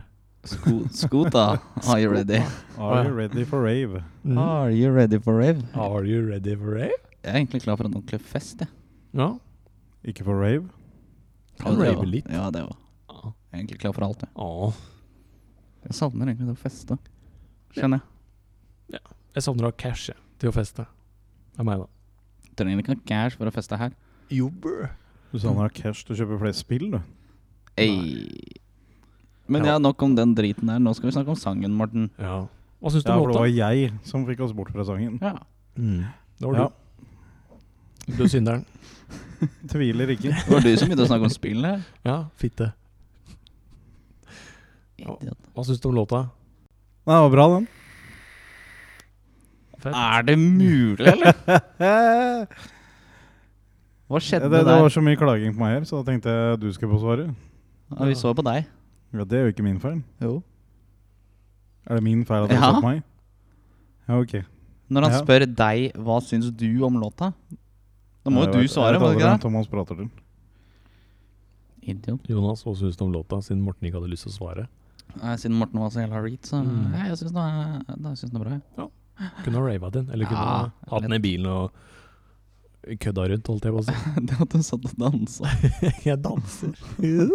Speaker 1: Sko Skota, are you ready?
Speaker 3: Are you ready for rave?
Speaker 2: Mm.
Speaker 1: Are you ready for rave?
Speaker 2: Are you ready for rave?
Speaker 1: Jeg er egentlig klar for en ordentlig fest, jeg.
Speaker 2: Ja.
Speaker 3: Ikke for rave?
Speaker 2: Kan
Speaker 1: det
Speaker 2: rave
Speaker 1: også.
Speaker 2: litt.
Speaker 1: Ja, det òg. Jeg er egentlig klar for alt, jeg.
Speaker 2: Åh.
Speaker 1: Jeg savner egentlig det å feste, kjenner jeg.
Speaker 2: Jeg savner å ha cash jeg, til å feste. Det er meg, da.
Speaker 1: Trenger ikke noe cash for å feste her.
Speaker 2: Jo, brr.
Speaker 3: Du sa han har cash til å kjøpe flere spill, du.
Speaker 1: Ei. Men ja, nok om den driten der. Nå skal vi snakke om sangen, Morten.
Speaker 2: Ja. Hva syns du
Speaker 3: Ja,
Speaker 2: om
Speaker 3: for det
Speaker 2: låta?
Speaker 3: var jeg som fikk oss bort fra sangen.
Speaker 1: Ja.
Speaker 2: Mm. Det var
Speaker 3: Ja.
Speaker 2: du. Du er synderen.
Speaker 3: Tviler ikke.
Speaker 1: Det var du som begynte å snakke om spill her.
Speaker 2: Ja, fitte.
Speaker 1: Idiot.
Speaker 2: Hva syns du om låta?
Speaker 3: Nei, det var bra, den.
Speaker 2: Fett.
Speaker 1: Er det mulig, eller?
Speaker 3: Eh,
Speaker 1: Hva skjedde
Speaker 3: det, det
Speaker 1: der?
Speaker 3: var så mye klaging på meg her, så da tenkte jeg du skal få svaret.
Speaker 1: Ja, vi så på deg.
Speaker 3: Ja, det er jo ikke min feil.
Speaker 1: Jo.
Speaker 3: Er det min feil at du
Speaker 1: Ja.
Speaker 3: har sett meg? Ja, ok.
Speaker 1: Når han
Speaker 3: Ja.
Speaker 1: spør deg hva syns du om låta, da må
Speaker 3: Nei,
Speaker 1: jo
Speaker 3: jeg
Speaker 1: du
Speaker 3: vet-
Speaker 1: svare.
Speaker 3: Jeg
Speaker 1: må du
Speaker 3: vet aldri
Speaker 1: ikke
Speaker 3: hvem Thomas prater til.
Speaker 1: det? Idiot.
Speaker 2: Jonas, hva syns du om låta, siden Morten ikke hadde lyst til å svare?
Speaker 1: Nei, Siden Morten var så jævla reet, så
Speaker 2: Mm.
Speaker 1: Nei, jeg syns den er- da syns den er bra. jeg.
Speaker 2: Kunne ha rava den, eller kunne
Speaker 1: Ja,
Speaker 2: ha hatt den i bilen og kødda rundt, holdt jeg på å si.
Speaker 1: Det at du satt og dansa.
Speaker 2: Jeg danser.
Speaker 1: Det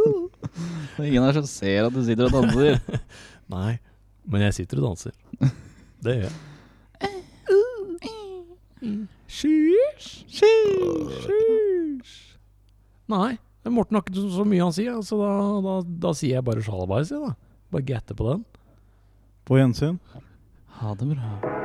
Speaker 1: er ingen her som ser at du sitter og danser.
Speaker 2: Nei, men jeg sitter og danser. Det gjør jeg. Sheesh. Sheesh. Nei, men Morten har ikke så- så mye han sier, så da, da, da sier jeg bare sjalabais, jeg, da. Bare gatter på den.
Speaker 3: På gjensyn.
Speaker 1: Ha det bra.